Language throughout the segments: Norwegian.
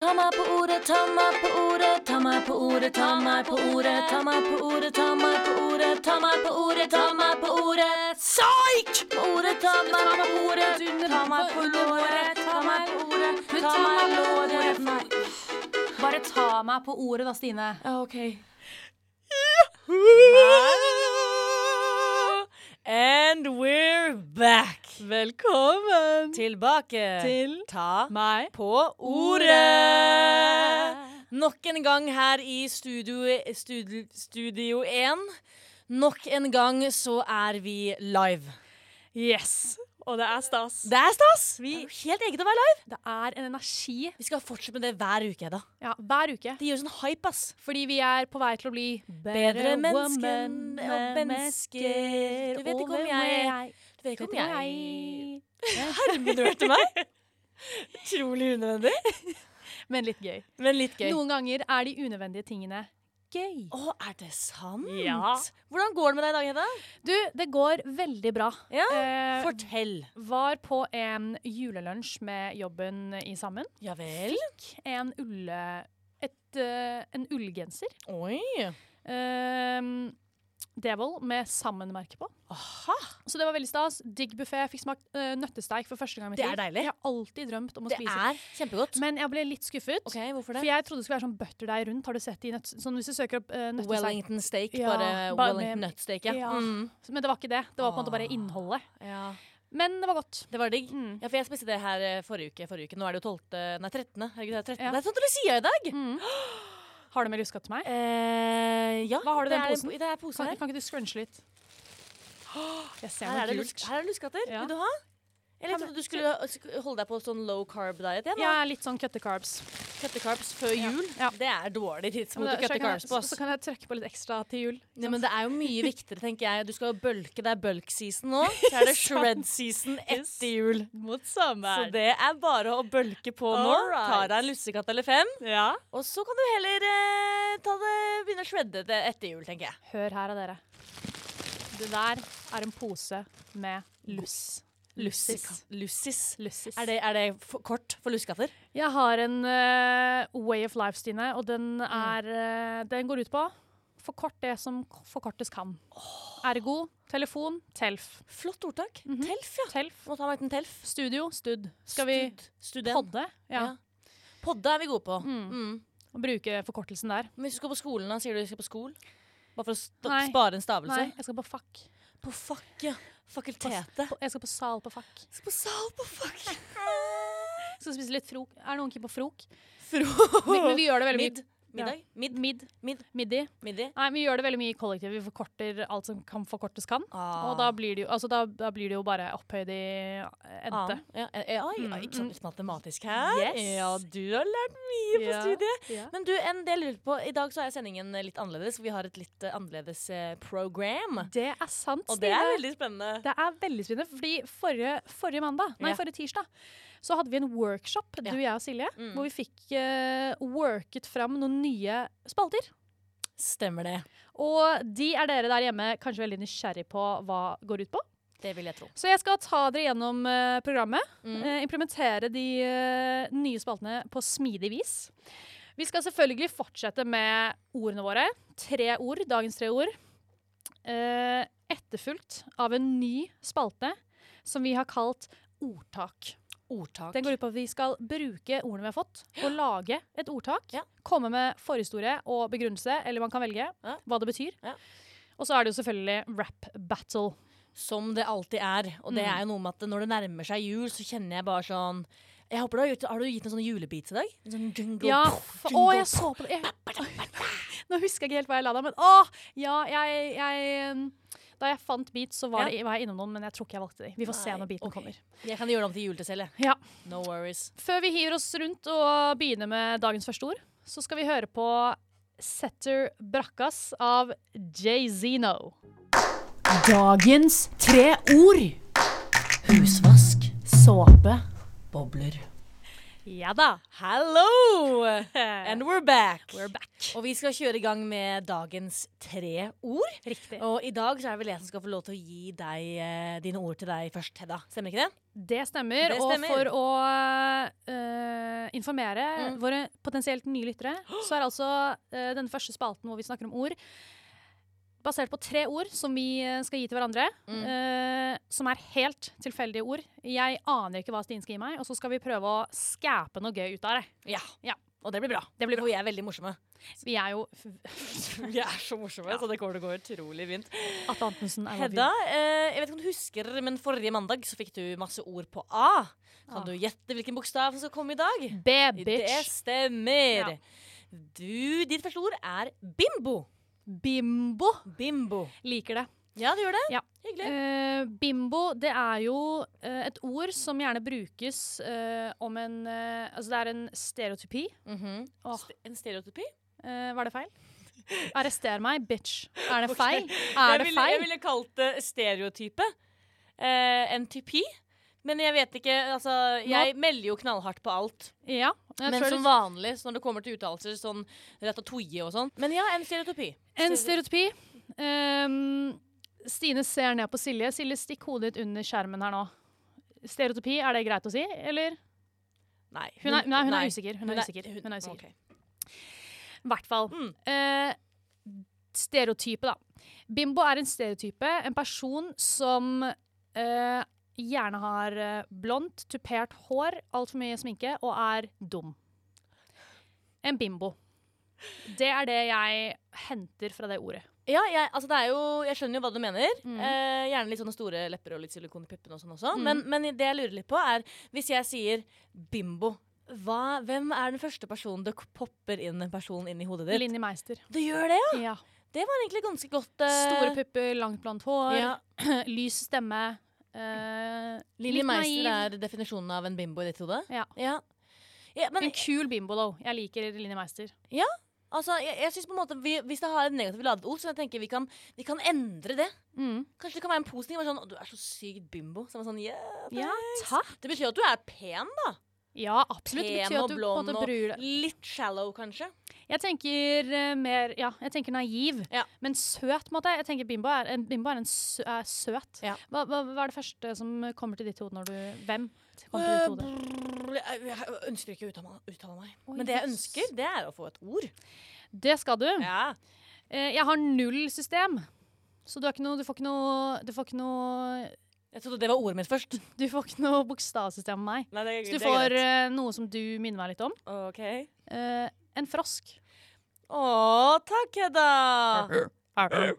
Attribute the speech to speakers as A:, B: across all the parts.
A: Ta meg på ordet, ta meg på ordet, ta meg på ordet, ta meg på ordet, ta meg på ordet, ta meg på ordet, ta meg på ordet, ta meg på ordet. Psyk! På ordet, ta meg på ordet, ta meg på låret, ta meg på ordet, ta meg på låret. Nei.
B: Bare ta meg på ordet da, Stine.
A: Ja, OK.
C: And we're back!
D: Velkommen
C: Tilbake
D: til
C: Ta
D: meg.
C: på ordet! Nok en gang her i studio, studio, studio 1. Nok en gang så er vi live.
D: Yes. Og det er stas.
C: Det er stas! Vi er helt eget å være live.
B: Det er en energi
C: Vi skal fortsette med det hver uke. da.
B: ja, hver uke.
C: Det gir oss en hype, ass.
B: Fordi vi er på vei til å bli
C: Bedre mennesker,
B: woman,
C: og mennesker Du vet ikke om jeg Du vet
B: Vet
C: ikke om
B: ikke om
C: jeg
B: jeg
C: Hermedørte meg. Utrolig unødvendig,
B: Men litt gøy.
C: men litt gøy.
B: Noen ganger er de unødvendige tingene gøy.
C: Å, er det sant?
D: Ja.
C: Hvordan går det med deg i dag, Hedda?
B: Du, det går veldig bra.
C: Ja,
B: Eh,
C: Fortell.
B: var på en julelunsj med jobben i sammen.
C: Ja vel?
B: En ulle... Et, eh, en ullgenser.
C: Oi.
B: Ehm, Devold med sammenmerke på.
C: Aha.
B: Så det var veldig stas. Digg buffé. Fikk smakt eh, nøttesteik for første gang i mitt
C: Det er
B: liv.
C: deilig.
B: Jeg har alltid drømt om å
C: Det
B: spise.
C: er kjempegodt.
B: Men jeg ble litt skuffet.
C: Ok, Hvorfor
B: For
C: det?
B: jeg trodde det skulle være sånn butterdeig rundt. Har du sett de nøtt... Sånn hvis du søker opp uh, nøttesteik.
C: Wellington steak,
B: Ja,
C: bare,
B: bare
C: Wellington
B: med-
C: nøttsteik. Ja.
B: Ja.
C: Mm.
B: Men det var ikke det. Det var på en måte bare
C: Ah.
B: innholdet.
C: ja.
B: Men det var godt.
C: Det var digg.
B: Mm.
C: Ja, for jeg spiste det her eh, forrige uke. Forrige uke. Nå er det jo 12. Nei, 13. Herregud, det er 13.
B: Ja.
C: Det er Tante Lucia i dag!
B: Mm. Har du med luska til meg?
C: Eh, ja.
B: Hva har du i
C: det
B: den
C: er en
B: posen?
C: po- Det er posen
B: Kan,
C: her.
B: kan ikke du scrunche litt? Jeg ser
C: Her er
B: noe
C: det,
B: gult.
C: lusk, her er det luskater.
B: Ja.
C: Vil du ha? Eller
B: Ta
C: trodde du skulle sk- holde deg på sånn low carb diet igjen.
B: Jeg
C: da.
B: er litt sånn cutte carbs.
C: Cutte carbs før jul.
B: Ja.
C: Det er dårlig
B: Så,
C: tidspunkt å
B: det, så,
C: cutte
B: kan jeg,
C: carbs på.
B: så,
C: ass.
B: så kan jeg trøkke på litt ekstra til jul.
C: Nei, men det er jo mye viktigere, tenker jeg. Du skal jo bølke. Det er bulk season nå. Så er det shred season etter jul.
D: Mot
C: Så
D: sommer.
C: det er bare å bølke på nå.
D: Alright.
C: Ta deg en lussekatt eller fem.
D: Ja.
C: Og så kan du heller eh, ta det, begynne å shredde det etter jul, tenker jeg.
B: Hør her av dere. Det der er en pose med luss. Lussis.
C: Lussis.
B: Lussis.
C: Er det, er det f kort for lussekatter?
B: Jeg har en eh, way of life, Stine, og
C: Mm.
B: den, er, eh, den går ut på forkort det som k- forkortes kan. Ergo telefon, telf.
C: Flott ordtak.
B: Mhm.
C: Telf, ja.
B: Telf.
C: Må ta meg en telf.
B: Studio, stud. Skal vi
C: Stud- Student.
B: podde? Ja.
C: Ja. Podde er vi gode på.
B: Mm.
C: Mm.
B: Og bruke forkortelsen der.
C: Men hvis du skal på skolen, da, sier du du skal på skol? Bare for å st
B: Nei.
C: spare en stavelse?
B: Nei, jeg skal på fuck.
C: På fuck, ja. Fakultetet.
B: På, jeg skal på sal på fuck.
C: Skal på sal på fuck.
B: Jeg skal spise litt frok. Er det noen keen på frok?
C: Fro.
B: Men, men vi gjør det veldig mye.
C: Midd. Middag. Midd.
B: Mid.
C: Mid.
B: Middi.
C: Middag.
B: Nei, vi gjør det veldig mye i kollektiv. Vi forkorter alt som kan forkortes kan.
C: Ah.
B: Og da blir, det jo, altså da, da blir det jo bare opphøyd i endte.
C: Annen. Ja, eh, eh, ai,
B: Mm,
C: ai, ikke sant,
B: mm.
C: litt matematisk her.
B: Yes.
C: Ja, du har lært mye på
B: Ja.
C: studiet.
B: Ja.
C: Men du, en del lurer på, i dag så er sendingen litt annerledes. Vi har et litt eh, annerledes eh, program.
B: Det er sant,
C: Og det er
B: Stine.
C: veldig spennende.
B: Det er veldig spennende, fordi forrige, forrige mandag, nei,
C: Ja.
B: forrige tirsdag, så hadde vi en workshop, du,
C: Ja.
B: jeg og Silje,
C: Mm.
B: hvor vi fikk eh, worket fram noen nye spalter.
C: Stemmer det.
B: Og de er dere der hjemme kanskje veldig nysgjerrig på hva går ut på.
C: Det vil jeg tro.
B: Så jeg skal ta dere gjennom eh, programmet.
C: Mm.
B: eh, implementere de eh, nye spaltene på smidig vis. Vi skal selvfølgelig fortsette med ordene våre. Tre ord, dagens tre ord. Uh, etterfulgt av en ny spalte som vi har kalt ordtak.
C: Ordtak.
B: Den går ut på at vi skal bruke ordene vi har fått, og lage et ordtak.
C: Ja.
B: Komme med forhistorie og begrunnelse, eller man kan velge
C: Ja.
B: hva det betyr.
C: Ja.
B: Og så er det jo selvfølgelig rap battle.
C: Som det alltid er. Og det
B: Mm.
C: er jo noe med at når det nærmer seg jul, så kjenner jeg bare sånn jeg håper du har, gjort, har du gitt en sånn julebeats i dag? En sånn jingle,
B: Ja,
C: poff,
B: fa- å,
C: jingle,
B: jeg så på det. Jeg, nå husker jeg ikke helt hva jeg la da, men å, ja, jeg, jeg um, Da jeg fant beat, så var,
C: Ja.
B: det, var jeg innom noen, men jeg tror ikke jeg valgte de. Vi får se
C: Nei,
B: når beaten
C: ok.
B: kommer.
C: poff. jeg kan gjøre det om til juletesel, jeg.
B: Ja.
C: No worries.
B: Før vi hiver oss rundt og begynner med dagens første ord, så skal vi høre på Setter Brakkas av Jay-Zeno.
A: Dagens tre ord.
C: Husvask.
A: Såpe.
C: Bobler.
B: Ja da.
C: Hello! And we're back.
B: We're back.
C: Og vi skal kjøre i gang med dagens tre ord.
B: Riktig.
C: Og i dag så er det vel jeg som skal få lov til å gi deg eh, dine ord til deg først, Hedda. Stemmer ikke det?
B: Det stemmer.
C: Det stemmer.
B: Og for å eh, informere
C: Mm.
B: våre potensielt nye lyttere, så er altså eh, den første spalten hvor vi snakker om ord, basert på tre ord som vi eh, skal gi til hverandre.
C: Mm.
B: eh, som er helt tilfeldige ord. Jeg aner ikke hva Stine skal gi meg, og så skal vi prøve å skape noe gøy ut av det.
C: Ja.
B: Ja.
C: Og det blir bra.
B: Det blir
C: For vi er veldig morsomme.
B: Vi er jo
C: Vi er så morsomme, så det kommer til å gå utrolig fint.
B: Atle Antonsen er
C: Hedda, eh, jeg vet ikke om du husker, men forrige mandag så fikk du masse ord på A. Kan
B: Ah.
C: du gjette hvilken bokstav som skal komme i dag? Det
B: B-bitch.
C: stemmer.
B: Ja.
C: Du, ditt første ord er bimbo.
B: Bimbo.
C: Bimbo.
B: Liker det.
C: Ja, det gjør det.
B: Ja.
C: Hyggelig.
B: Eh, bimbo det er jo eh, et ord som gjerne brukes eh, om en eh, Altså det er en stereotypi.
C: Mhm.
B: Eh, Åh,
C: Ste- En stereotypi?
B: eh, var det feil? Arrester meg, bitch. Er det
C: Ok.
B: feil?
C: Jeg
B: Er det
C: ville, jeg
B: feil?
C: ville kalt det stereotype. Eh, en typi. Men jeg vet ikke altså, Jeg melder jo knallhardt på alt.
B: Ja. Jeg
C: men
B: tror
C: som
B: det-
C: vanlig så når det kommer til uttalelser sånn ratatouille og sånn. Men ja, en stereotypi.
B: en stereotypi. Ehm, Stine ser ned på Silje. Silje, stikk hodet ditt under skjermen her nå. Stereotypi, er det greit å si, eller?
C: Nei.
B: Hun er, nei, hun
C: nei.
B: er usikker. Hun er usikker. Hun er usikker.
C: ok.
B: I hvert fall.
C: Mm.
B: Eh, stereotype, da. Bimbo er en stereotype. En person som eh, gjerne har eh, blondt, tupert hår, altfor mye sminke og er dum. En bimbo. Det er det jeg henter fra det ordet.
C: Ja, jeg, altså det er jo, jeg skjønner jo hva du mener.
B: Mm.
C: Eh, gjerne litt sånne store lepper og litt silikon i puppene og sånn også.
B: Mm.
C: Men, men det jeg lurer litt på, er hvis jeg sier bimbo, hva, hvem er den første personen det k- popper inn en person inn i hodet ditt?
B: Linni Meister.
C: Du gjør det, ja!
B: Ja.
C: Det var egentlig ganske godt. eh,
B: Store pupper, langt blondt hår,
C: Ja.
B: lys stemme. eh,
C: Lilly
B: litt
C: Meister
B: naiv.
C: er definisjonen av en bimbo i ditt hode?
B: Ja.
C: ja. Ja, men
B: En kul bimbo, though. Jeg liker Linni Meister.
C: altså, jeg, jeg synes på en måte vi, hvis det har et negativt ladet ord, så jeg tenker vi kan, vi kan endre det.
B: Mm.
C: Kanskje det kan være en positiv. bare Sånn, «Å, du er så sykt bimbo. Så er man sånn, yeah,
B: Ja,
C: thanks».
B: takk.
C: Det betyr at du er pen, da.
B: Ja, absolutt. Det
C: Pen
B: betyr
C: og
B: at du på en
C: blond
B: måte
C: og
B: bryr deg.
C: litt shallow, kanskje.
B: Jeg tenker eh, mer Ja, jeg tenker naiv,
C: Ja.
B: men søt, på en måte. Jeg tenker bimbo er, en, bimbo er en sø, er søt.
C: Ja.
B: Hva, hva, hva er det første som kommer til ditt hode når du Hvem kommer til ditt hode?
C: Øh, jeg, jeg ønsker ikke å uttale meg, uttale meg.
B: Oi,
C: Men det jeg
B: jøss.
C: ønsker, det er å få et ord.
B: Det skal du.
C: Ja.
B: Eh, Jeg har null system, så du, har ikke noe, du får ikke noe Du får ikke noe,
C: Jeg trodde det var ordet mitt først.
B: du får ikke noe bokstavsystem med meg.
C: Nei, det,
B: Så du får eh, noe som du minner meg litt om.
C: OK.
B: Eh, en frosk.
C: Å, takk, Hedda.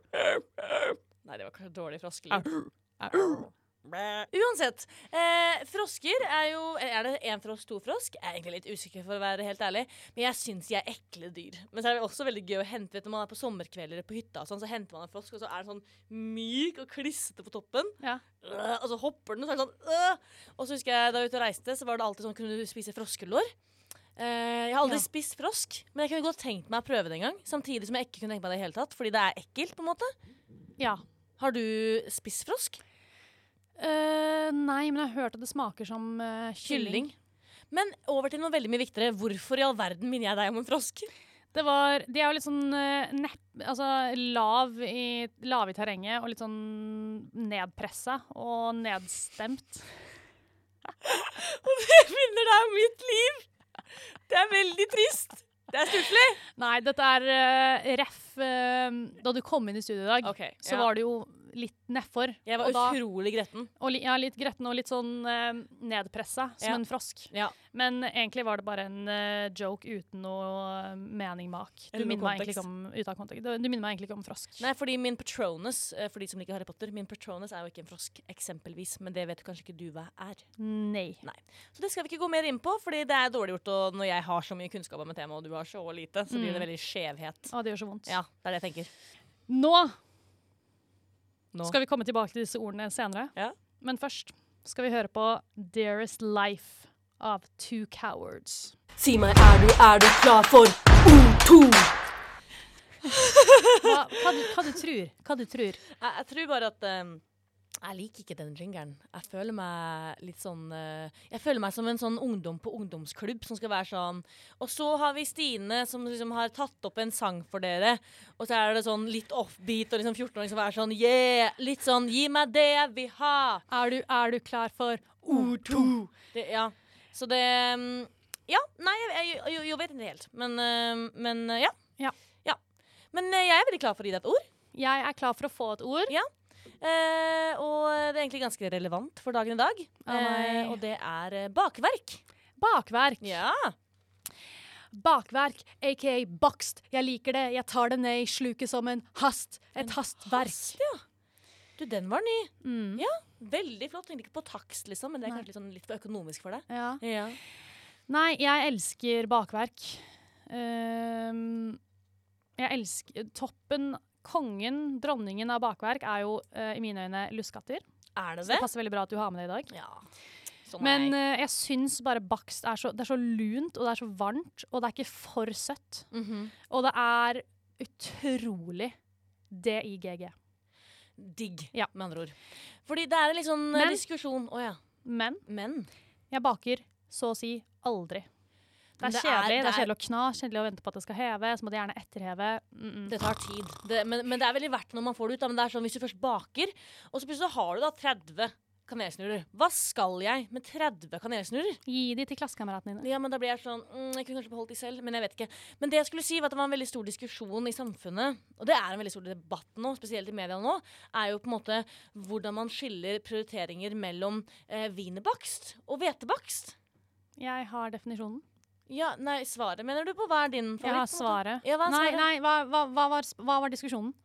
C: Nei, det var kanskje dårlig froskelyd. Uansett. Eh, frosker er jo Er det én frosk, to frosk? Jeg er egentlig litt usikker, for å være helt ærlig. Men jeg syns de er ekle dyr. Men så er det også veldig gøy å hente vet du, Når man er på sommerkvelder på hytta, og sånn, så henter man en frosk, og så er den sånn myk og klissete på toppen.
B: Ja.
C: Øh, og så hopper den, og så er den sånn øh. Og så husker jeg da jeg var ute og reiste, så var det alltid sånn Kunne du spise froskelår? Eh, jeg har aldri
B: Ja.
C: spist frosk, men jeg kunne godt tenkt meg å prøve det en gang. Samtidig som jeg ikke kunne tenke meg det i det hele tatt, fordi det er ekkelt, på en måte.
B: Ja.
C: Har du spist frosk?
B: Eh, nei, men jeg har hørt at det smaker som eh, kylling.
C: Kylling. Men over til noe veldig mye viktigere. Hvorfor i all verden minner jeg deg om en frosk?
B: Det var, de er jo litt sånn eh, nepp, altså, lav, i, lav i terrenget og litt sånn nedpressa og nedstemt.
C: Jeg minner deg om mitt liv! Det er veldig trist. Det er stusslig.
B: Nei, dette er eh, ref. eh, da du kom inn i studio i dag, så var du jo litt nedfor.
C: Jeg var
B: og, da,
C: utrolig gretten.
B: og li, ja, litt gretten og litt sånn uh, nedpressa, som
C: Ja.
B: en frosk.
C: Ja.
B: Men egentlig var det bare en eh, joke uten noe eh, mening bak. Du
C: Eller noe
B: minner meg egentlig
C: kontekst.
B: ikke om, ut av kontekst. Du, du minner meg egentlig ikke om frosk.
C: Nei, fordi min Patronus, eh, for de som liker Harry Potter, min Patronus er jo ikke en frosk, eksempelvis. Men det vet kanskje ikke du hva er.
B: Nei.
C: Så det skal vi ikke gå mer inn på, fordi det er dårlig gjort og når jeg har så mye kunnskap om et tema, og du har så lite, så
A: Mm.
C: blir det veldig skjevhet.
B: Å, det gjør så vondt.
C: Ja, det er det jeg tenker.
B: Nå
C: Nå.
B: skal vi komme tilbake til disse ordene senere.
C: Ja.
B: Men først skal vi høre på Dearest Life av Two Cowards.
A: Si meg, er du, er du klar for ord to?
B: Hva, hva, du, hva du tror? Hva du tror?
C: Jeg, jeg tror bare at eh, Jeg liker ikke den jingeren. Jeg føler meg litt sånn eh, Jeg føler meg som en sånn ungdom på ungdomsklubb som skal være sånn Og så har vi Stine som liksom har tatt opp en sang for dere, og så er det sånn litt offbeat og liksom 14-åring som er sånn yeah! Litt sånn gi meg det jeg vil ha!
B: Er du, er du klar for ord to?
C: Det, ja. Så det mm, Ja, nei, jeg, jeg, jeg, jeg vet ikke helt. Men, eh, men eh, ja.
B: Ja.
C: Men eh, jeg er veldig klar for å gi deg et ord.
B: Jeg er klar for å få et ord.
C: Eh, og det er egentlig ganske relevant for dagen i dag.
B: Å, nei.
C: og det er eh, bakverk.
B: Bakverk.
C: Ja.
B: Bakverk, aka bakst. Jeg liker det, jeg tar det ned i sluket som en hast. Et hastverk.
C: ja. Du, den var ny.
B: Mm.
C: Veldig flott. Tenkte ikke på takst, liksom, men det er
B: Nei.
C: kanskje litt, sånn, litt for økonomisk for deg.
B: Ja.
C: Ja.
B: Nei, jeg elsker bakverk. Ehm, jeg elsker Toppen, kongen, dronningen av bakverk er jo eh, i mine øyne luskatter.
C: Er det
B: Så
C: det?
B: det passer veldig bra at du har med det i dag.
C: Ja. Sånn
B: Men
C: er jeg.
B: eh, jeg syns bare bakst er så, det er så lunt, og det er så varmt, og det er ikke for søtt.
C: Mhm.
B: Og det er utrolig DIGG.
C: Digg,
B: Ja.
C: med andre ord. Fordi det er en litt sånn eh,
B: Men-
C: diskusjon Å ja.
B: Men
C: Men.
B: jeg baker så å si aldri. Det
C: Men
B: er
C: det er-
B: kjedelig det
C: det
B: er
C: er-
B: kjedelig å kna, kjedelig å vente på at det skal heve. Så må det gjerne etterheve. Mm -mm.
C: Det tar tid. Det, men, men det er veldig verdt når man får det ut. Da. Men det er sånn hvis du først baker, og så plutselig har du da 30 kanelsnurrer. Hva skal jeg med 30 kanelsnurrer?
B: Gi de til klassekameratene dine.
C: Ja, men da blir jeg sånn mm, Jeg kunne kanskje beholdt de selv, men jeg vet ikke. Men det jeg skulle si var at det var en veldig stor diskusjon i samfunnet, og det er en veldig stor debatt nå, spesielt i media nå, er jo på en måte hvordan man skiller prioriteringer mellom eh, wienerbakst og hvetebakst.
B: Jeg har definisjonen.
C: Ja, nei, svaret mener du på hva er din
B: Jeg har
C: favoritt? på en måte?
B: svaret.
C: Ja, hva er
B: nei,
C: svaret?
B: nei, hva, hva, hva, var, sp- hva var diskusjonen?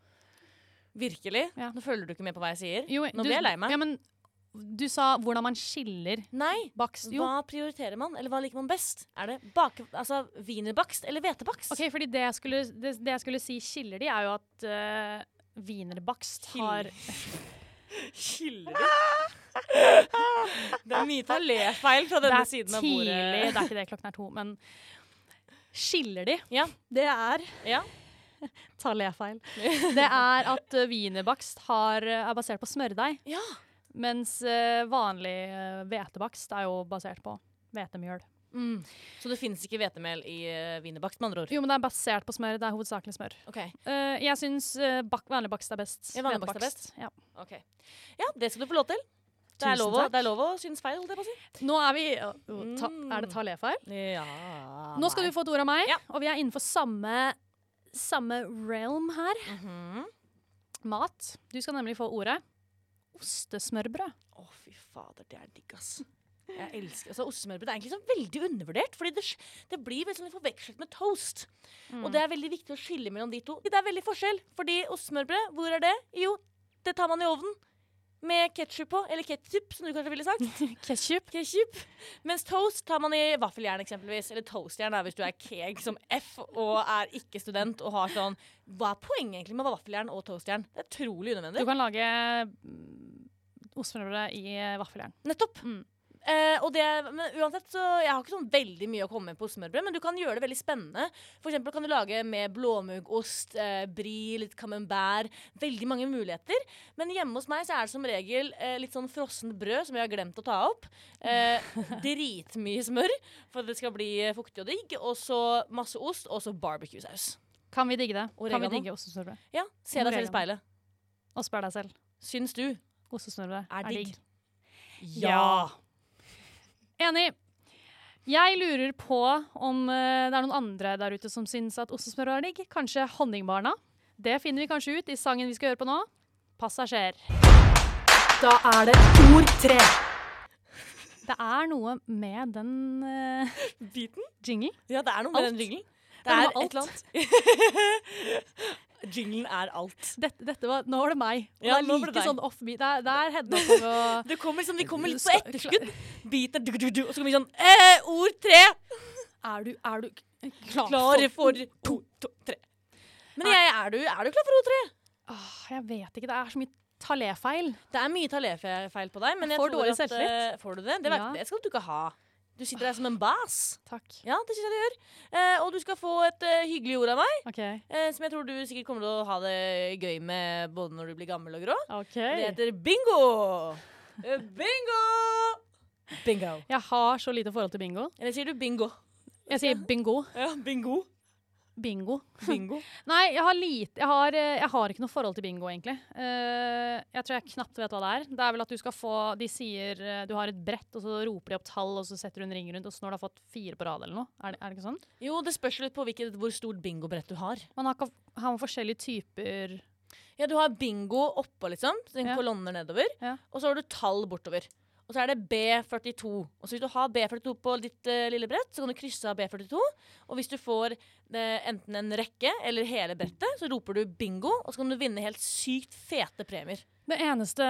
C: Virkelig?
B: Ja.
C: Nå følger du ikke med på hva jeg sier?
B: Jo,
C: Nå
B: du-
C: blir jeg lei meg.
B: Ja, men du sa hvordan man skiller
C: Nei.
B: bakst. Jo,
C: Hva prioriterer man, eller hva liker man best? Er det bake, altså wienerbakst eller hvetebakst?
B: ok, fordi det jeg skulle, det, det jeg skulle si skiller de, er jo at eh, wienerbakst har
C: Skiller du? Det er mye taléfeil fra
B: Det
C: denne
B: er
C: siden
B: tidlig,
C: av bordet.
B: det er ikke det, klokken er to, men skiller de?
C: Ja.
B: Det er
C: Ja.
B: Taléfeil. Det er at eh, wienerbakst har, eh, er basert på smørdeig,
C: Ja.
B: mens eh, vanlig eh, hvetebakst er jo basert på hvetemjøl.
C: Mm. Så det finnes ikke hvetemel i uh, wienerbakst, med andre ord?
B: Jo, men det er basert på smør. Det er hovedsakelig smør.
C: Ok,
B: Eh, jeg syns eh, bak vanlig bakst er best.
C: Ja, vanlig bakst er
B: Hvetebakst, Ja.
C: ok. Ja, det skal du få lov til. Det er,
B: Tusen
C: lov å,
B: takk.
C: det er lov å synes feil, holdt jeg på å si.
B: Nå er vi å, å, ta,
C: Mm.
B: Er det taléfeil?
C: Ja.
B: Nå skal du få et ord av meg,
C: Ja.
B: og vi er innenfor samme, samme realm her.
C: Å,
B: Mat. Du skal nemlig få ordet ostesmørbrød.
C: fy fader, det er digg, ass. Jeg elsker altså, Ostesmørbrød er egentlig sånn veldig undervurdert, fordi det, sj- det blir veldig sånn litt forvekslet med toast.
B: Mm.
C: Og det er veldig viktig å skille mellom de to. Det er veldig forskjell, fordi ostesmørbrød, hvor er det? Jo, det tar man i ovnen. Med ketsjup på, eller ketchup, som du kanskje ville sagt.
B: Ketsjup.
C: Ketchup. Mens toast tar man i vaffeljern eksempelvis. Eller toastjern da, hvis du er keg som F og er ikke student og har sånn Hva er poenget egentlig med vaffeljern og toastjern? Det er utrolig
B: Du
C: unødvendig.
B: kan lage mm, ostesmørbrød i eh, vaffeljern.
C: Nettopp.
B: Mm.
C: Eh, og det, men uansett så Jeg har ikke sånn veldig mye å komme med på smørbrød, men du kan gjøre det veldig spennende. For eksempel kan du lage med blåmuggost, eh, brie, litt camembert. Veldig mange muligheter. Men hjemme hos meg så er det som regel eh, litt sånn frossent brød som jeg har glemt å ta opp. Eh, dritmye smør for at det skal bli eh, fuktig og digg. Og så masse ost, og så barbecue-saus.
B: Kan vi digge det? Kan
C: Oregano.
B: vi digge ostesmørbrød?
C: Ja, se deg selv i
B: Oregano.
C: speilet.
B: Og spør deg selv.
C: Syns du?
B: Ostesmørbrød
C: Er
B: er,
C: digg.
B: digg. Enig. Jeg lurer på om eh, det er noen andre der ute som syns at ostesmørbrød er digg. Kanskje Honningbarna. Det finner vi kanskje ut i sangen vi skal høre på nå. Passasjer.
A: Da er det ord tre.
B: Det er noe med den uh,
C: Biten?
B: jingle.
C: Ja, det er noe med
B: Alt.
C: den jinglen.
B: Det er noe med
C: annet. Jinglen er alt.
B: Dette, dette var, nå var det meg. Og
C: Ja,
B: det er
C: nå var det
B: like
C: deg.
B: sånn offbeat. Det er, det er Hedda for å
C: Det kommer liksom, de kommer litt på
B: Skal-
C: etterskudd. Biten er du-du-du, og så kommer de sånn eh, Ord tre!
B: Er du, er du k- klar,
C: Klare
B: for
C: for to, to, tre. Men jeg, er, du, er du klar for ord tre?
B: Åh, Jeg vet ikke. Det er så mye taléfeil.
C: Det er mye taléfeil på deg, men jeg
B: Får
C: tror
B: dårlig
C: at,
B: selvtillit.
C: eh, Får du det? Det, vet,
B: Ja.
C: det skal du ikke ha. Du sitter der som en bas.
B: Takk.
C: Ja, det syns jeg du gjør. Eh, og Du skal få et eh, hyggelig ord av meg,
B: OK.
C: eh, som jeg tror du sikkert kommer til å ha det gøy med både når du blir gammel og grå.
B: ok.
C: Det heter bingo! Eh, Bingo! Bingo.
B: Jeg har så lite forhold til bingo.
C: Eller sier du bingo?
B: Jeg sier bingo.
C: Ja, bingo.
B: Bingo.
C: Bingo.
B: Nei, jeg har lite Jeg har, eh, jeg har ikke noe forhold til bingo, egentlig. Eh, jeg tror jeg knapt vet hva det er. Det er vel at du skal få De sier eh, du har et brett, og så roper de opp tall, og så setter du en ring rundt, og så når du har fått fire på rad eller noe. Er det, er det ikke sånn?
C: Jo, det spørs litt på hvilket, hvor stort bingobrett du har.
B: Man har, ikke- har man forskjellige typer
C: Ja, Du har bingo oppå, liksom. Så den
B: Ja.
C: kolonner nedover.
B: Ja.
C: Og så har du tall bortover. Og så er det B42. Og så Hvis du har B42 på ditt eh, lille brett, så kan du krysse av B42. Og hvis du får eh, enten en rekke eller hele brettet, så roper du bingo, og så kan du vinne helt sykt fete premier.
B: Det eneste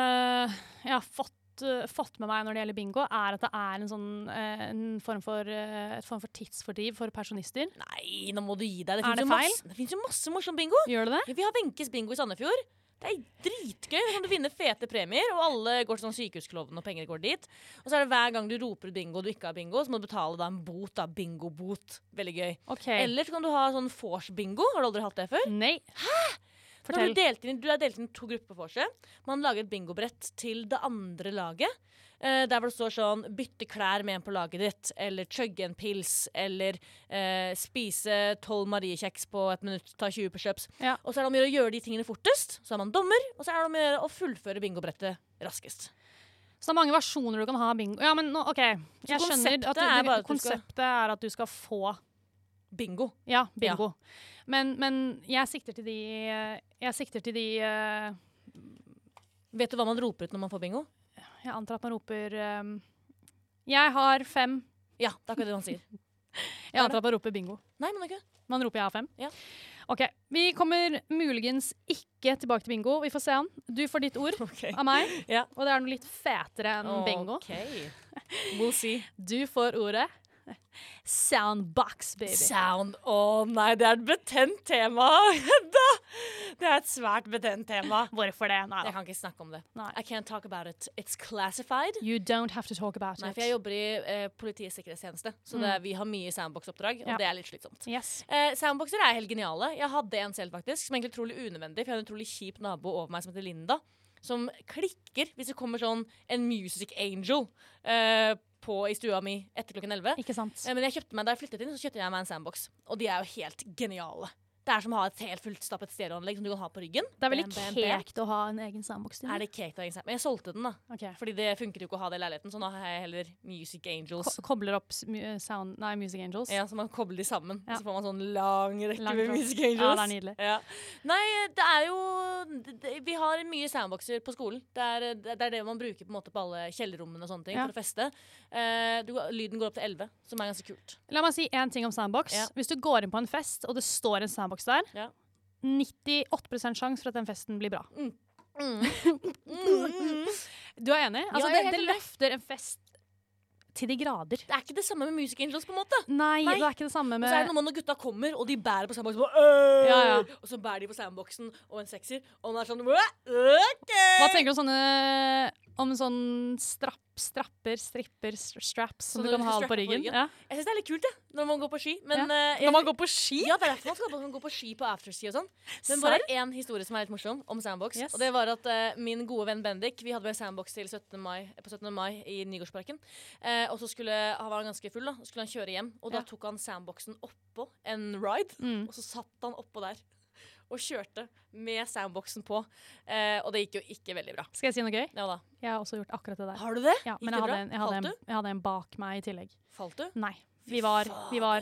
B: jeg har fått, eh, fått med meg når det gjelder bingo, er at det er en, sånn, eh, en form for, eh, et form for tidsfordriv for pensjonister.
C: Nei, nå må du gi deg. Det
B: Er
C: finnes
B: det
C: jo
B: feil?
C: masse- Det fins jo masse morsom bingo.
B: Gjør det det?
C: Ja, vi har Wenches bingo i Sandefjord. Det er dritgøy. Da kan du vinne fete premier, og alle går til sånn sykehusklovn, og penger går dit. Og så er det hver gang du roper ut bingo og du ikke har bingo, så må du betale da en bot. da, Bingobot. Veldig gøy.
B: OK.
C: Eller så kan du ha sånn vors-bingo. Har du aldri hatt det før?
B: Nei.
C: Da
B: Hæ?
C: er Du,
B: Fortell.
C: delt inn, i- du er delt inn i to grupper for seg. Man lager et bingobrett til det andre laget. eh, der hvor det står sånn 'bytte klær med en på laget ditt', eller 'chugge en pils', eller eh, 'spise tolv mariekjeks på et minutt, ta 20 pushups'.
B: Ja.
C: Og så er det om å gjøre å gjøre de tingene fortest, så er man dommer, og så er det om å gjøre å fullføre bingobrettet raskest.
B: Så det er mange versjoner du kan ha av bingo. Ja, men nå, OK. Jeg skjønner
C: konseptet
B: at,
C: er
B: det,
C: bare at du skal-
B: konseptet er at du skal få
C: Bingo.
B: Ja, bingo. Men, men jeg sikter til de eh, Jeg sikter til de eh,
C: Vet du hva man roper ut når man får bingo?
B: Jeg antar at man roper eh, Jeg har fem.
C: Ja, det er akkurat det man sier.
B: Jeg antar at man roper bingo.
C: Nei, men ikke.
B: Man roper 'jeg har fem'?
C: Ja.
B: Ok, Vi kommer muligens ikke tilbake til bingo. Vi får se han. Du får ditt ord av meg,
C: Ja.
B: og det er noe litt fetere enn bingo.
C: Ok. We'll see.
B: Du får ordet soundbox, baby.
C: Sound. Å nei, det er et betent tema, Hedda! Det er et svært betent tema.
B: Hvorfor det? Nei.
C: Jeg
B: da.
C: kan ikke snakke om det.
B: Nei.
C: I can't talk about it. It's classified.
B: You don't have to talk about
C: Nei,
B: it.
C: for jeg jobber i eh, Politiets sikkerhetstjeneste, så det er, vi har mye sandbox-oppdrag, og
B: Mm. Ja.
C: det er litt slitsomt.
B: Yes.
C: Eh, sandboxer er helt geniale. Jeg hadde en selv faktisk, som egentlig er utrolig unødvendig, for jeg har en utrolig kjip nabo over meg som heter Linda, som klikker hvis det kommer sånn en music angel eh, på, i stua mi etter klokken 11.
B: Ikke sant?
C: Eh, men jeg kjøpte meg, da jeg flyttet inn, så kjøpte jeg meg en sandbox, og de er jo helt geniale. Det er som å ha et helt fullstappet stereoanlegg som du kan ha på ryggen.
B: Det er veldig
C: Bam, bam, bam.
B: kekt å ha en egen soundbox. til.
C: Er det cake, da, men jeg solgte den, da.
B: Ok.
C: Fordi det funket jo ikke å ha det i leiligheten, så nå har jeg heller Music Angels.
B: Ko kobler opp s- mu- sound, nei, Music Angels.
C: Ja, Så man kobler de sammen,
B: Ja.
C: så får man sånn lang rekke
B: Lang
C: med
B: tråd.
C: Music Angels.
B: Ja, det er nydelig.
C: Ja. Nei, det er jo det- det- Vi har mye sandboxer på skolen. Det er det, er det man bruker på, en måte på alle kjellerrommene og sånne ting
B: Ja.
C: for å feste. Eh, du, lyden går opp til 11, som er ganske kult.
B: La meg si én ting om soundbox.
C: Ja.
B: Hvis du går inn på en fest, og det står en soundbox der,
C: Ja.
B: 98 sjanse for at den festen blir bra.
C: Mm.
B: Du er enig?
C: jeg
B: Altså,
C: er
B: det,
C: helt
B: det
C: enig.
B: løfter en fest til de grader.
C: Det er ikke det samme med Music Angels, på en måte.
B: Nei,
C: Nei.
B: det er ikke det samme
C: Og så er det
B: med
C: noe med når gutta kommer, og de bærer på sandboxen, og, øh,
B: Ja, ja.
C: og så bærer de på sandboxen og en sekser, og den er sånn øh, OK!
B: Hva tenker du om sånne om sånn strapp, strapper, stripper, str- straps som
C: Sånne
B: du kan
C: du
B: ha
C: skal
B: på
C: strappe på
B: ryggen?
C: ryggen?
B: Ja.
C: Jeg syns det er litt kult, jeg, når man går på ski. Men,
B: Ja.
C: eh, jeg,
D: Når man går på ski?
C: ja, det er derfor man skal man gå på ski på afterski og sånn. Men bare én historie som er litt morsom, om sandbox.
B: Yes.
C: Og det var at eh, min gode venn Bendik Vi hadde med sandbox til 17. Mai, på 17. mai i Nygårdsparken. Eh, og så skulle han var ganske full, da. Så skulle han kjøre hjem. Og da
B: Ja.
C: tok han sandboxen oppå en ride,
B: Mm.
C: og så satt han oppå der. Og kjørte med sandboxen på. Eh, og det gikk jo ikke veldig bra.
B: Skal jeg si noe gøy?
C: Ja da.
B: Jeg har også gjort akkurat det der.
C: Har du det?
B: Ja,
C: Gikk
B: men
C: det
B: jeg
C: bra?
B: hadde, en, jeg, hadde en,
C: Falt
B: jeg hadde en bak meg i tillegg.
C: Falt du?
B: Nei. Vi var, vi var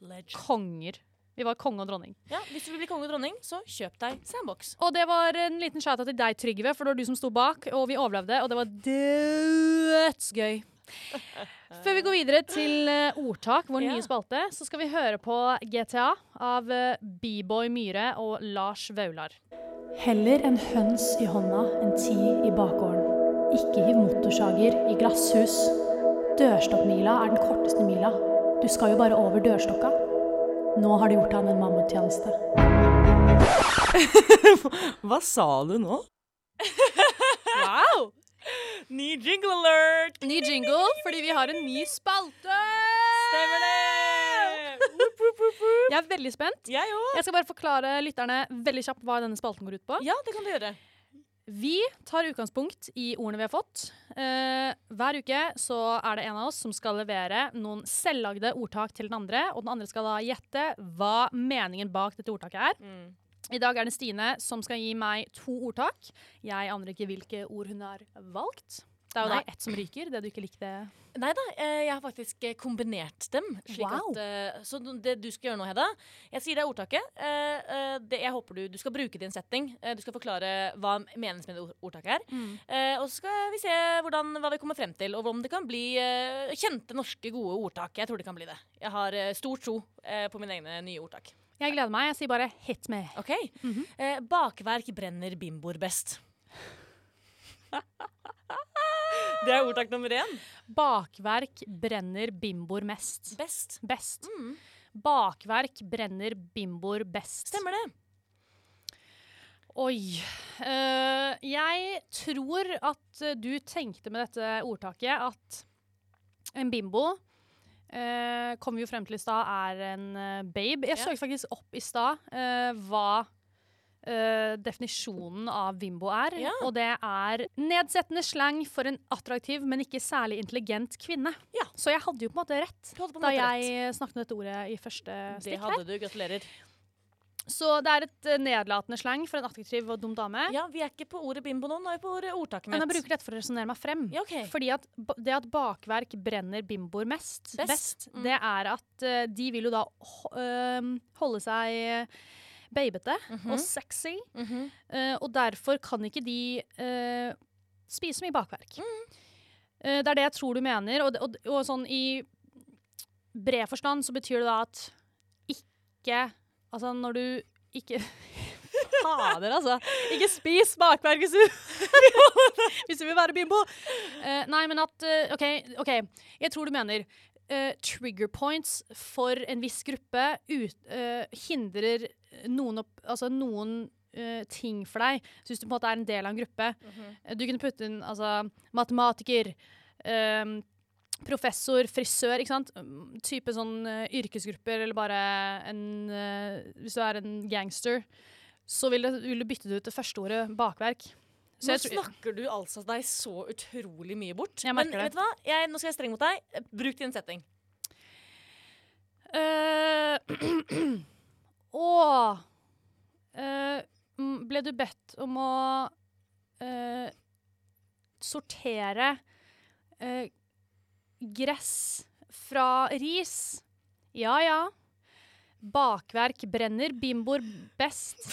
C: Legend.
B: konger. Vi var konge og dronning.
C: Ja, hvis du vil bli konge og dronning, så kjøp deg sandbox.
B: Og det var en liten shout-out til deg, Trygve, for det var du som sto bak, og vi overlevde, og det var dødsgøy. Før vi går videre til eh, Ordtak, vår
C: Ja.
B: nye spalte, så skal vi høre på GTA av eh, B-boy Myhre og Lars Vaular.
E: Heller en høns i hånda enn ti i bakgården. Ikke hiv motorsager i glasshus. Dørstokkmila er den korteste mila. Du skal jo bare over dørstokka. Nå har du gjort han en mammuttjeneste.
D: Hva sa du nå?
B: Wow!
C: Ny jingle alert!
B: Ny jingle fordi vi har en ny spalte!
C: Stemmer det!
B: Jeg er veldig spent.
C: Jeg òg.
B: Jeg skal bare forklare lytterne veldig kjapt hva denne spalten går ut på.
C: Ja, det kan du gjøre.
B: Vi tar utgangspunkt i ordene vi har fått. Eh, hver uke så er det en av oss som skal levere noen selvlagde ordtak til den andre, og den andre skal da gjette hva meningen bak dette ordtaket er.
C: Mm.
B: I dag er det Stine som skal gi meg to ordtak. Jeg aner ikke hvilke ord hun har valgt. Det er jo
C: Nei.
B: da ett som ryker, det du ikke likte.
C: Nei da, jeg har faktisk eh, kombinert dem. Slik
B: Wow.
C: at, eh, så det du skal gjøre nå, Hedda Jeg sier det er ordtaket. eh, eh, det, jeg håper du, du skal bruke din setting. Eh, du skal forklare hva menes med det ord- ordtaket er. Eh, og så skal vi se hvordan, hva vi kommer frem til, og om det kan bli eh, kjente norske gode ordtak. Jeg tror det kan bli det. Jeg har eh, stor tro eh, på mine egne nye ordtak.
B: Jeg gleder meg. Jeg sier bare 'hit me'.
C: Ok? eh, bakverk brenner bimboer best. det er ordtak nummer én.
B: Bakverk brenner bimboer mest.
C: Best. Mm,
B: Best. Bakverk brenner bimboer best.
C: Stemmer det.
B: Oi. Eh, jeg tror at eh, du tenkte med dette ordtaket at en bimbo eh, kom vi jo frem til i stad, er en eh, babe. Jeg
C: Ja.
B: søkte faktisk opp i stad eh, hva eh, definisjonen av bimbo er.
C: Ja.
B: Og det er nedsettende slang for en attraktiv, men ikke særlig intelligent kvinne.
C: Ja.
B: Så jeg hadde jo på en måte rett
C: Du hadde på en
B: da
C: måte rett.
B: jeg snakket om dette ordet i første
C: Det
B: stikk her.
C: hadde du. Gratulerer.
B: Så det er et eh, nedlatende slang for en attraktiv og dum dame.
C: Ja, Vi er ikke på ordet bimbo nå, nå er vi på ordet ordtaket
B: Men jeg
C: mitt.
B: bruker dette for å resonnere meg frem.
C: Ja, ok.
B: Fordi at ba- det at bakverk brenner bimboer mest,
C: Best.
B: best,
C: Mm.
B: det er at eh, de vil jo da ho- øhm, holde seg eh, babete
C: Mm.
B: og sexy.
C: Mhm.
B: eh, og derfor kan ikke de eh, spise så mye bakverk. Eh, det er det jeg tror du mener, og, det- og, og sånn i bred forstand så betyr det da at ikke Altså når du ikke Fader, altså. Ikke spis bakverk hvis du hvis du vil være bimbo. Eh, nei, men at eh, OK, ok. jeg tror du mener eh, trigger points for en viss gruppe ut, eh, hindrer noen, opp, altså noen eh, ting for deg. Så hvis du på en måte er en del av en gruppe eh, Du kunne putte inn altså, matematiker, ehm, professor, frisør, ikke sant? Mm, Type sånn eh, yrkesgrupper, eller bare en eh, Hvis du er en gangster, så vil, det, vil du bytte det ut det første ordet bakverk.
C: Nå
B: tror-
C: snakker du altså deg så utrolig mye bort.
B: Jeg
C: Men
B: merker det.
C: vet du hva? Jeg, nå skal jeg være streng mot deg. Bruk din setting.
B: Eh, Åh Eh, mm, Ble du bedt om å eh, sortere eh, gress fra ris? Ja ja. Bakverk brenner, bimboer best.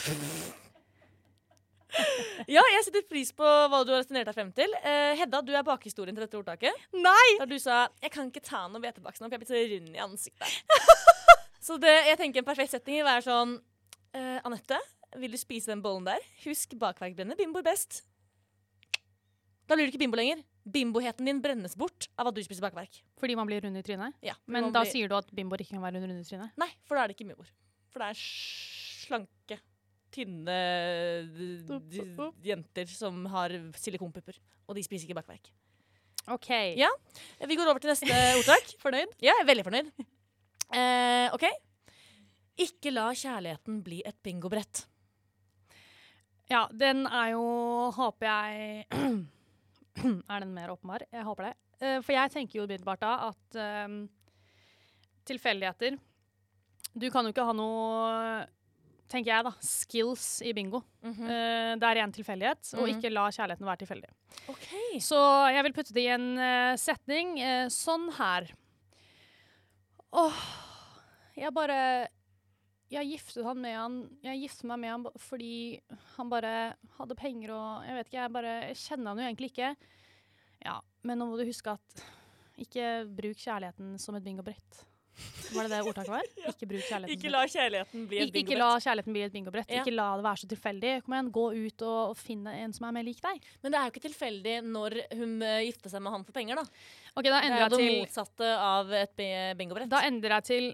C: Ja, jeg setter pris på hva du har returnert deg frem til. Eh, Hedda, du er bakhistorien til dette ordtaket.
B: Nei!
C: Der du sa 'jeg kan ikke ta noe hvetebakst nå, for jeg blir så rund i ansiktet'. så det, jeg tenker en perfekt setting vil være sånn eh, Anette, vil du spise den bollen der? Husk bakverk brenner bimboer best. Da blir du ikke bimbo lenger. Bimboheten din brennes bort av at du spiser bakverk.
B: Fordi man blir rund i trynet?
C: Ja,
B: Men
C: man
B: da
C: blir-
B: sier du at bimboer ikke kan være rund i trynet?
C: Nei, for da er det ikke bimboer. For det er slanke, tynne d- d- jenter som har silikonpupper. Og de spiser ikke bakverk.
B: OK.
C: Ja. Vi går over til neste ordtak. fornøyd? Ja, jeg er veldig fornøyd. Eh, OK. Ikke la kjærligheten bli et bingobrett.
B: Ja, den er jo Håper jeg Er den mer åpenbar? Jeg håper det. Eh, for jeg tenker jo umiddelbart da at ehm, tilfeldigheter Du kan jo ikke ha noe Tenker jeg, da. Skills i bingo. Eh, det er ren tilfeldighet. Og ikke la kjærligheten være tilfeldig.
C: OK.
B: Så jeg vil putte det i en eh, setning eh, sånn her. Åh, jeg bare Jeg giftet han med han Jeg giftet meg med han ba- fordi han bare hadde penger og Jeg vet ikke, jeg bare jeg kjenner han jo egentlig ikke. Ja, men nå må du huske at ikke bruk kjærligheten som et bingobrett. Var det det ordtaket var? Ikke bruk kjærligheten som et-
C: Ikke la kjærligheten bli et
B: Ik- ikke
C: bingobrett.
B: la kjærligheten bli et bingobrett.
C: Ja.
B: Ikke la det være så tilfeldig. Kom igjen, gå ut og, og finn en som er mer lik deg.
C: Men det er jo ikke tilfeldig når hun eh, gifta seg med han for penger, da.
B: Ok, da
C: Det er
B: endrer jeg
C: jo det
B: til
C: motsatte av et bi- bingobrett.
B: Da endrer jeg til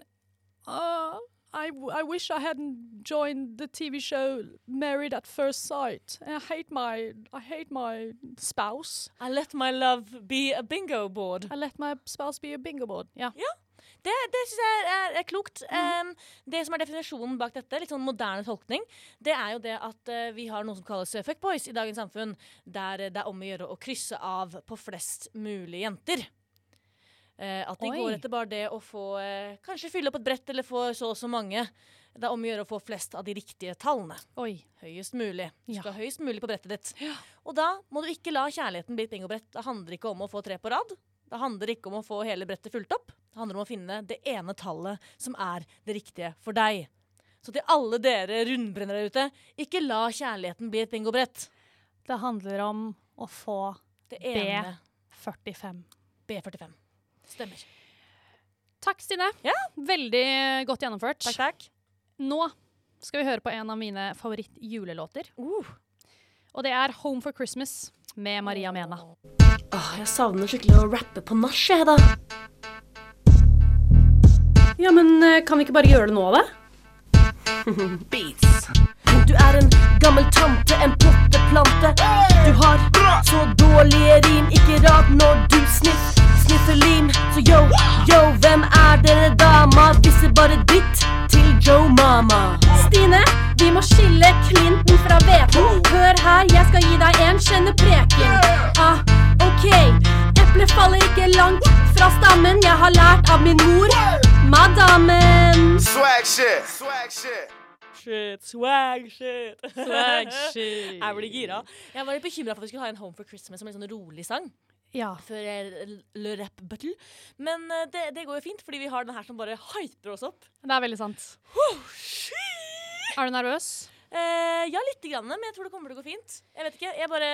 B: «Ah, I, w- I wish I hadn't joined the TV show Married at First Sight. I hate my, I hate my spouse.
C: I let my love be a bingo board.
B: I let my spouse be a bingo board. Ja.
C: Det, det syns jeg er, er klokt. Em, det som er definisjonen bak dette, litt sånn moderne tolkning, det er jo det at eh, vi har noe som kalles eh, fuckboys i dagens samfunn, der eh, det er om å gjøre å krysse av på flest mulig jenter. Eh, at de
B: Oi.
C: går etter bare det å få eh, Kanskje fylle opp et brett eller få så og så mange. Det er om å gjøre å få flest av de riktige tallene.
B: Oi.
C: Høyest mulig. Du
B: Ja.
C: skal høyest mulig på brettet ditt. Og da må du ikke la kjærligheten bli et bingobrett. Det handler ikke om å få tre på rad. Det handler ikke om å få hele brettet fulgt opp. Det handler om å finne det ene tallet som er det riktige for deg. Så til alle dere rundbrennere der ute, ikke la kjærligheten bli et bingobrett.
B: Det handler om å få
C: Det ene
B: 45.
C: B45. Stemmer.
B: Takk, Stine.
C: Ja.
B: Veldig godt gjennomført.
C: Takk, takk.
B: Nå skal vi høre på en av mine favorittjulelåter.
C: Uh.
B: Og det er 'Home for Christmas' med Maria Mena.
A: Åh, jeg savner skikkelig å rappe på nach, jeg, da.
E: Ja, men eh, kan vi ikke bare gjøre det nå, da?
A: Beats. Du er en gammel tante, en potteplante. Du har så dårlige rim, ikke rart når du sniff, sniffer lim. Så yo, yo, hvem er dere dama? Disse bare dritt til Joe Mama.
E: Stine, vi må skille Clinton fra hveten. Hør her, jeg skal gi deg en kjennepreken. Ah, ok. Eplet faller ikke langt fra stammen. Jeg har lært av min mor, madammen.
F: Swag shit. Swag shit.
C: Shit, swag shit.
B: shit.
C: Jeg blir gira. Jeg var litt bekymra for at vi skulle ha en Home for Christmas som en sånn rolig sang.
B: Ja.
C: før eh, Le Rap Battle. Men eh, det, det går jo fint, fordi vi har den her som bare hyper oss opp.
B: Det er veldig sant. Er du nervøs?
C: Eh, ja, lite grann, men jeg tror det kommer til å gå fint. Jeg vet ikke, jeg bare,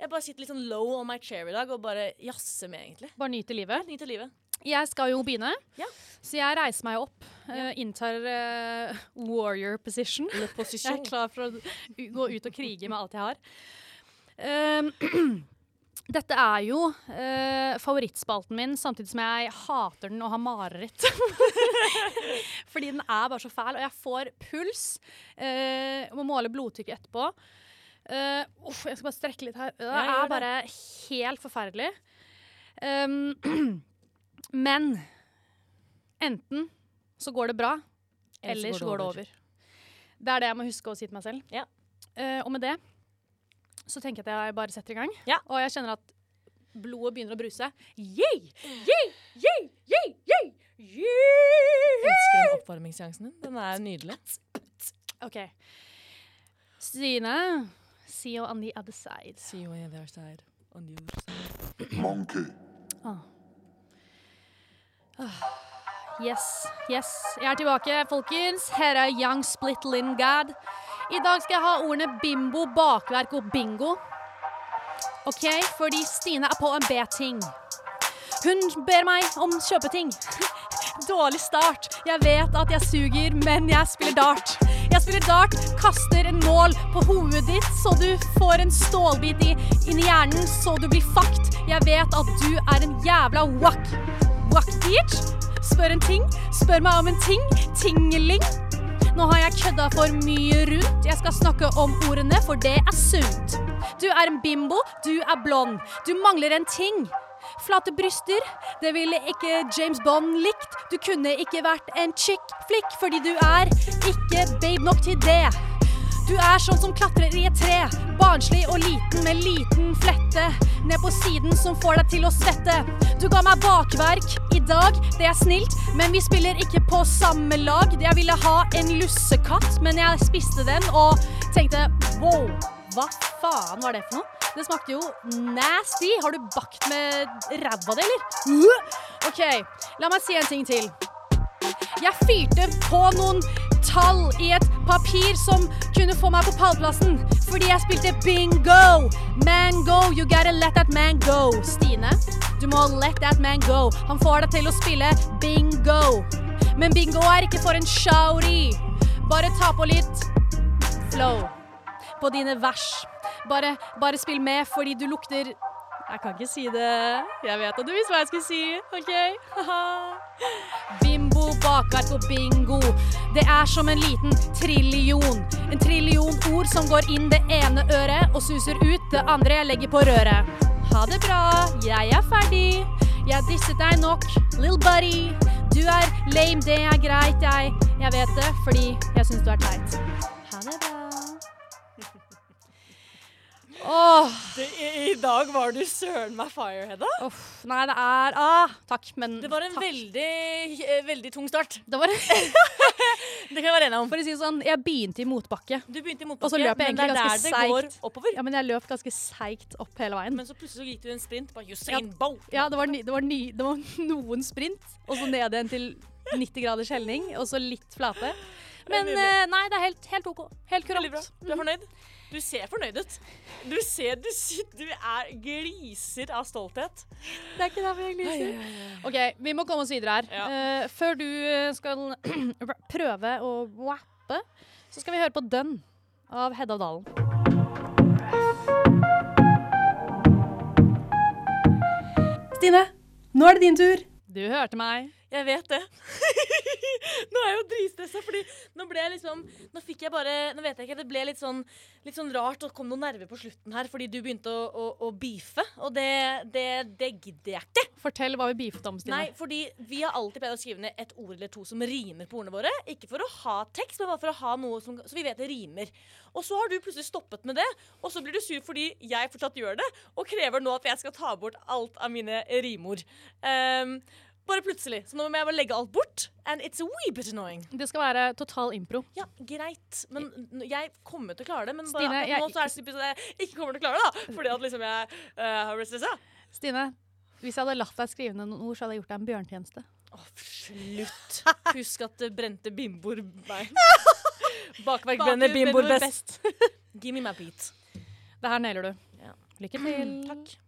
C: jeg bare sitter litt sånn low on my chair i dag og bare jazzer med, egentlig.
B: Bare nyter livet.
C: Helt ny til livet.
B: Jeg skal jo begynne,
C: Ja.
B: så jeg reiser meg opp. eh, inntar eh, warrior position.
C: Le
B: Jeg er klar for å u- gå ut og krige med alt jeg har. Ehm, dette er jo eh, favorittspalten min, samtidig som jeg hater den og har mareritt. Fordi den er bare så fæl, og jeg får puls. eh, må måle blodtrykket etterpå. Eh, uff, jeg skal bare strekke litt her.
C: Ja,
B: Det
C: gjør
B: er
C: det.
B: bare helt forferdelig. Ehm, men enten så går det bra, Ellers går det over. Det er det jeg må huske å si til meg selv.
C: Ja.
B: Eh, og med det så tenker jeg at jeg bare setter i gang.
C: Ja.
B: Og jeg kjenner at blodet begynner å bruse. Yay! Yay! Yay! Yay! Yay! Yay!
C: Elsker den oppvarmingsseansen din. Den er nydelig.
B: OK. Stine, see you on the other side.
C: See you on the other side. On the other side.
F: Monkey.
B: Ah. Yes, yes. Jeg er tilbake, folkens. Her er Young Split Lingard. I dag skal jeg ha ordene bimbo, bakverk og bingo. OK? Fordi Stine er på en B-ting. Hun ber meg om kjøpeting. Dårlig start. Jeg vet at jeg suger, men jeg spiller dart. Jeg spiller dart, kaster en nål på hodet ditt, så du får en stålbit i, inn i hjernen, så du blir fucked. Jeg vet at du er en jævla wack. Wack bitch. Spør en ting. Spør meg om en ting. Tingeling. Nå har jeg kødda for mye rundt. Jeg skal snakke om ordene, for det er sunt. Du er en bimbo, du er blond. Du mangler en ting. Flate bryster, det ville ikke James Bond likt. Du kunne ikke vært en chick flick, fordi du er ikke babe nok til det. Du er sånn som klatrer i et tre. Barnslig og liten med liten flette ned på siden som får deg til å svette. Du ga meg bakverk i dag, det er snilt, men vi spiller ikke på samme lag. Jeg ville ha en lussekatt, men jeg spiste den og tenkte wow, hva faen var det for noe? Det smakte jo nasty. Har du bakt med ræva di, eller? OK, la meg si en ting til. Jeg fyrte på noen tall i et papir som kunne få meg på pallplassen. Fordi jeg spilte bingo. Mango, you gotta let that man go. Stine, du må let that man go. Han får deg til å spille bingo. Men bingo er ikke for en shouty. Bare ta på litt flow på dine vers. Bare, bare spill med fordi du lukter Jeg kan ikke si det. Jeg vet at du visste hva jeg skulle si. OK? Haha. Bimbo, bakverk og bingo. Det er som en liten trillion. En trillion ord som går inn det ene øret og suser ut det andre jeg legger på røret. Ha det bra, jeg er ferdig. Jeg disset deg nok, little buddy. Du er lame, det er greit, jeg. Jeg vet det, fordi jeg syns du er teit. Ha det bra. Åh,
C: I dag var du søren meg fireheada.
B: uff, nei, det er ah, Takk, men
C: Det var en
B: takk.
C: veldig, eh, veldig tung start.
B: Det var en
C: Det kan jeg være enig om.
B: For å si det sånn, jeg begynte i motbakke.
C: Du begynte i
B: Og så
C: motbakke,
B: løp jeg
C: men det
B: egentlig
C: er der
B: ganske
C: det går
B: seigt.
C: oppover.
B: Ja, men jeg løp ganske seigt opp hele veien.
C: Men så plutselig så gikk du i en sprint. Bare Usain Bolt.
B: Ja, det var, ny, det, var ny, det var noen sprint, og så ned igjen til 90 graders helning, og så litt flate. Men Mm.
C: Nydelig.
B: eh, nei, det er helt, helt OK. Helt
C: Veldig bra.
B: kurant.
C: Du er fornøyd? Du ser fornøyd ut. Du ser Du, sit- du er gliser av stolthet.
B: Det er ikke derfor jeg gliser. OK, vi må komme oss videre her. Eh, før du eh, skal prøve å wappe, så skal vi høre på Dønn av Hedda Dalen.
E: Stine, nå er det din tur.
B: Du hørte meg.
C: Jeg vet det. nå er jeg jo dritstressa, fordi nå ble jeg liksom Nå fikk jeg bare Nå vet jeg ikke, det ble litt sånn, litt sånn rart, og det kom noen nerver på slutten her fordi du begynte å, å, å beefe, og det, det, det gidder jeg ikke.
B: Fortell hva vi beefet om, Stine.
C: Nei, fordi vi har alltid pleid å skrive ned et ord eller to som rimer på ordene våre. Ikke for å ha tekst, men bare for å ha noe som, så vi vet det rimer. Og så har du plutselig stoppet med det, og så blir du sur fordi jeg fortsatt gjør det, og krever nå at jeg skal ta bort alt av mine rimord. Ehm, bare plutselig. Så nå må jeg bare legge alt bort. And it's a wee bit annoying.
B: Det skal være total impro.
C: Ja, greit. Men n- jeg kommer til å klare det. Men bare
B: Stine,
C: akkurat
B: jeg-
C: nå så er det typisk at jeg ikke kommer til å klare det, da. Fordi at liksom jeg eh, har blitt stressa.
B: Stine, hvis jeg hadde latt deg skrive ned noen ord, så hadde jeg gjort deg en bjørntjeneste.
C: Å, slutt. Husk at det brente bimboer meg. Bakverk brenner bimboer best. Give me my beat.
B: Det her nailer du.
C: Ja. Mm,
B: Lykke til.
C: Takk.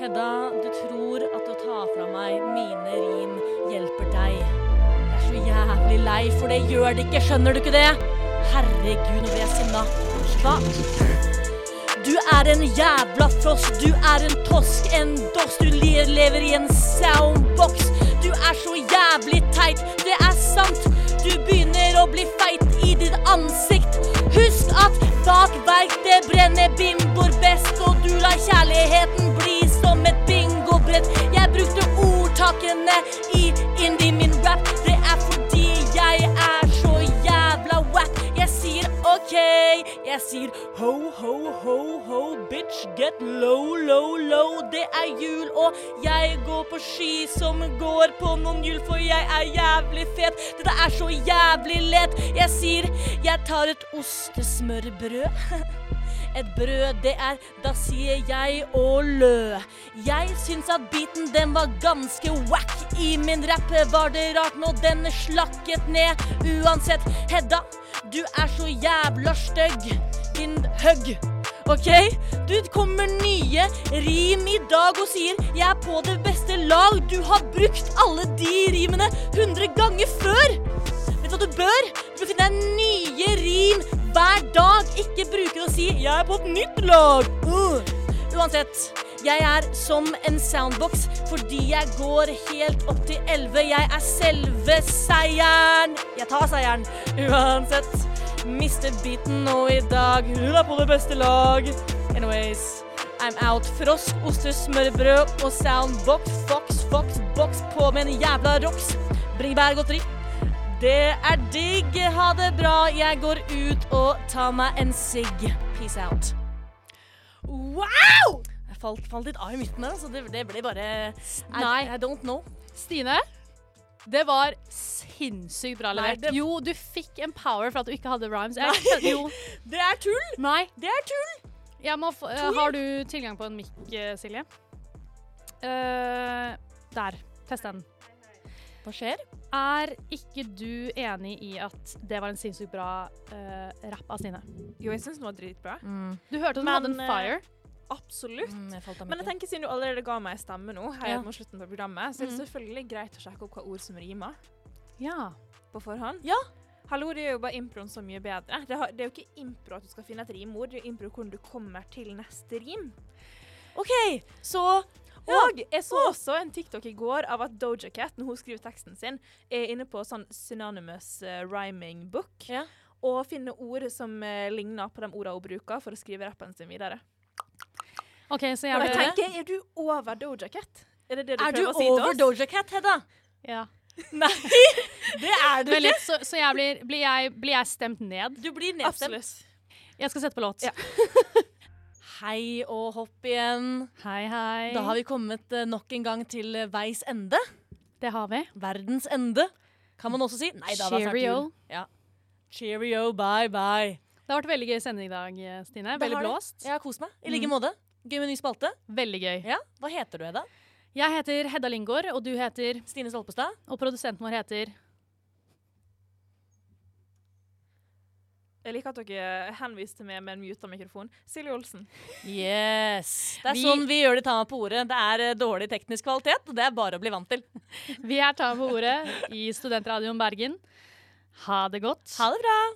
C: Hedda, du tror at å ta fra meg mine rim hjelper deg. Jeg er så jævlig lei, for det gjør det ikke. Skjønner du ikke det? Herregud, nå blir jeg sinna. Hva? Du er en jævla frosk, du er en tosk, en doss. Du le- lever i en soundbox. Du er så jævlig teit, det er sant. Du begynner å bli feit i ditt ansikt. Husk at bak verk det brenner bimboer best, og du lar kjærligheten bli som et bingobrett. Jeg brukte ordtakene i indie min rap. Det er fordi jeg er så jævla wack. Jeg sier OK. Jeg sier ho, ho, ho, ho, bitch. Get low, low, low. Det er jul, og jeg går på ski som går på noen hjul, for jeg er jævlig fet. Dette er så jævlig lett. Jeg sier jeg tar et ostesmørbrød. Et brød, det er Da sier jeg å lø. Jeg syns at beaten den var ganske wack. I min rapp var det rart når den slakket ned. Uansett, Hedda, du er så jævla stygg. Din høgg. OK? Du kommer nye rim i dag og sier 'jeg er på det beste lag'. Du har brukt alle de rimene 100 ganger før. Vet du hva du bør? Du bør finne deg nye rim hver dag. Ikke bruke det å si 'jeg er på et nytt lag'. Uh. Uansett. Jeg er som en soundbox fordi jeg går helt opp til 11. Jeg er selve seieren. Jeg tar seieren uansett. Mister beaten nå i dag. Hun er på det beste lag. Anyways. I'm out. Frosk, oster, smørbrød og soundbox. Fox, fox, box på med en jævla rocks. Bringebær, godteri. Det er digg. Ha det bra. Jeg går ut og tar meg en sigg. Peace out. Wow! Jeg falt, falt litt av i midten der, altså. Det, det ble bare I,
B: Nei.
C: I don't know.
B: Stine, det var sinnssykt bra
C: Nei,
B: levert.
C: det-
B: Jo, du fikk en power for at du ikke hadde rhymes. Jeg, skjønner- jo,
C: Det er tull!
B: nei.
C: Det er tull!
B: Jeg må, få- eh, har du tilgang på en mic, eh, Silje? Eh, der. Test den.
C: Hva skjer?
B: Er ikke du enig i at det var en sinnssykt bra eh, rapp av Stine?
D: Jo, jeg syns den var dritbra.
C: Mm.
B: Du hørte at hun
D: Men,
B: hadde en
D: eh,
B: fire.
D: Absolutt.
C: jeg falt av
D: Men jeg tenker siden du allerede ga meg stemme nå, her
C: Ja. Mhm.
D: mot slutten på programmet, så er det selvfølgelig greit å sjekke opp hva ord som rimer
B: Ja.
D: på forhånd.
C: Ja.
D: Hallo, det gjør jo bare improen så mye bedre. Det, har, det er jo ikke impro at du skal finne et rimord, det er jo impro hvordan du kommer til neste rim.
C: OK, så
D: Og jeg så også en TikTok i går av at Doja Cat, når hun skriver teksten sin, er inne på sånn synonymous eh, rhyming book,
C: Ja.
D: og finner ord som eh, ligner på de ordene hun bruker for å skrive rappen sin videre.
B: OK, så jeg
D: Og jeg
B: vil
D: tenker, er du over Doja Cat? Er det det du
C: Er du
D: prøver å si
C: over
D: til oss?
C: Doja Cat, Hedda?
B: Ja.
C: Nei, det er du ikke.
B: Men litt, så så jeg blir, blir, jeg, blir jeg stemt ned?
C: Du blir nedstemt.
D: Absolutt.
B: Jeg skal sette på låt.
D: Ja.
C: Hei og hopp igjen.
B: Hei, hei.
C: Da har vi kommet eh, nok en gang til eh, veis ende.
B: Det har vi.
C: Verdens ende, kan man også si. Nei, da var det snart jul.
B: Cheerio.
C: Ja. Cheerio, bye bye.
B: Det har vært veldig gøy sending i dag, eh, Stine.
C: Det
B: Veldig
C: har det.
B: blåst.
C: Jeg har kost meg. I like måte. Gøy med ny spalte.
B: Veldig gøy.
C: Ja. Hva heter du, Hedda?
B: Jeg heter Hedda Lingård, og du heter
C: Stine Stolpestad?
B: Og produsenten vår heter
D: Jeg liker at dere henviste meg med en muta mikrofon. Silje Olsen.
C: Yes. Det er
B: Vi-
C: sånn vi gjør det ta meg på ordet. Det er eh, dårlig teknisk kvalitet, og det er bare å bli vant til.
B: Vi er Ta på ordet i Studentradioen Bergen. Ha det godt.
C: Ha det bra.